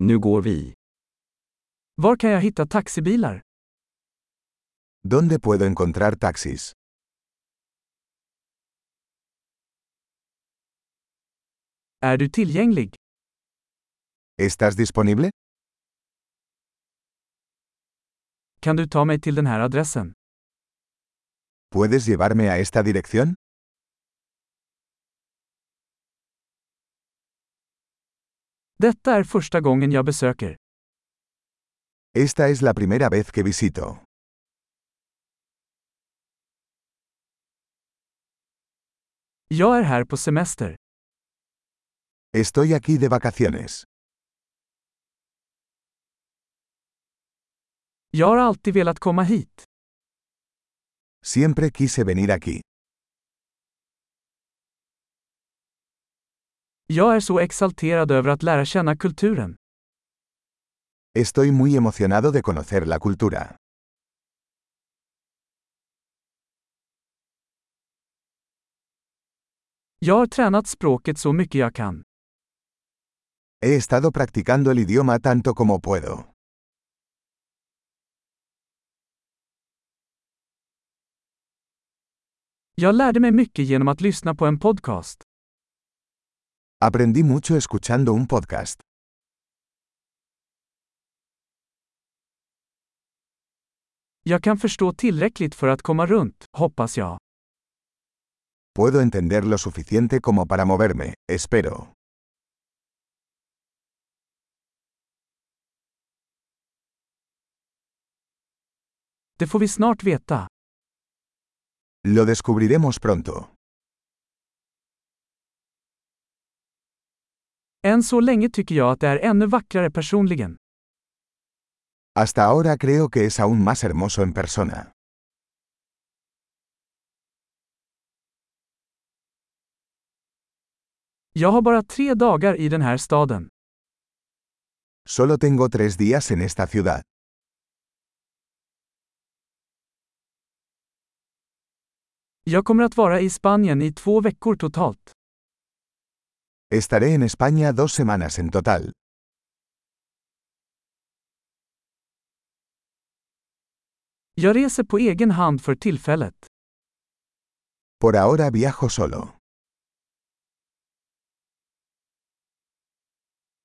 Nu går vi. Var kan jag hitta taxibilar? ¿Dónde puedo encontrar taxis? Är du tillgänglig? ¿Estás disponible? Kan du ta mig till den här adressen? ¿Puedes llevarme a esta dirección? Detta är första gången jag besöker. Esta es la primera vez que visito. Jag är här på semester. Estoy aquí de vacaciones. Jag har alltid velat komma hit. Siempre quise venir aquí. Jag är så exalterad över att lära känna kulturen. Estoy muy emocionado de conocer la cultura. Jag har tränat språket så mycket jag kan. He estado practicando el idioma tanto como puedo. Jag lärde mig mycket genom att lyssna på en podcast. Aprendí mucho escuchando un podcast. Jag kan förstå tillräckligt för att komma runt, hoppas jag. Puedo entender lo suficiente como para moverme, espero. Det får vi snart veta. Lo descubriremos pronto. Än så länge tycker jag att det är ännu vackrare personligen. Hasta ahora creo que es aún más hermoso en persona. Jag har bara tre dagar i den här staden. Solo tengo tres días en esta ciudad. Jag kommer att vara i Spanien i två veckor totalt. Estaré en España dos semanas en total. Jag reser på egen hand för tillfället. Por ahora viajo solo.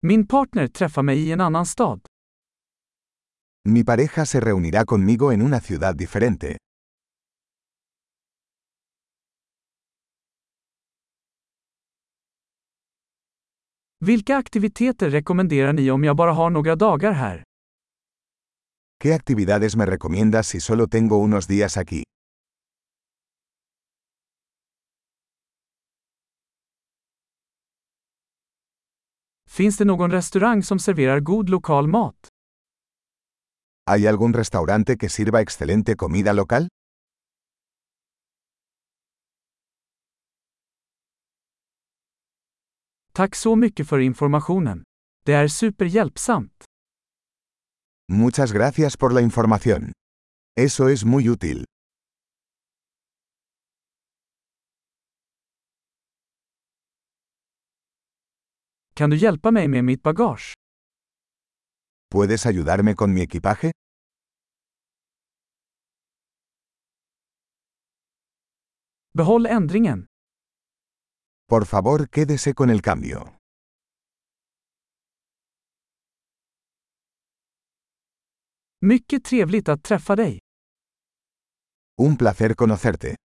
Min partner träffar mig i en annan stad. Mi pareja se reunirá conmigo en una ciudad diferente. Vilka aktiviteter rekommenderar ni om jag bara har några dagar här? ¿Qué actividades me recomiendas si solo tengo unos días aquí? Finns det någon restaurang som serverar god lokal mat? ¿Hay algún restaurante que sirva excelente comida local? Tack så mycket för informationen. Det är superhjälpsamt. Muchas gracias por la información. Eso es muy útil. Kan du hjälpa mig med mitt bagage? ¿Puedes ayudarme con mi equipaje? Behåll ändringen. Por favor, quédese con el cambio. Mycket trevligt att träffa dig. Un placer conocerte.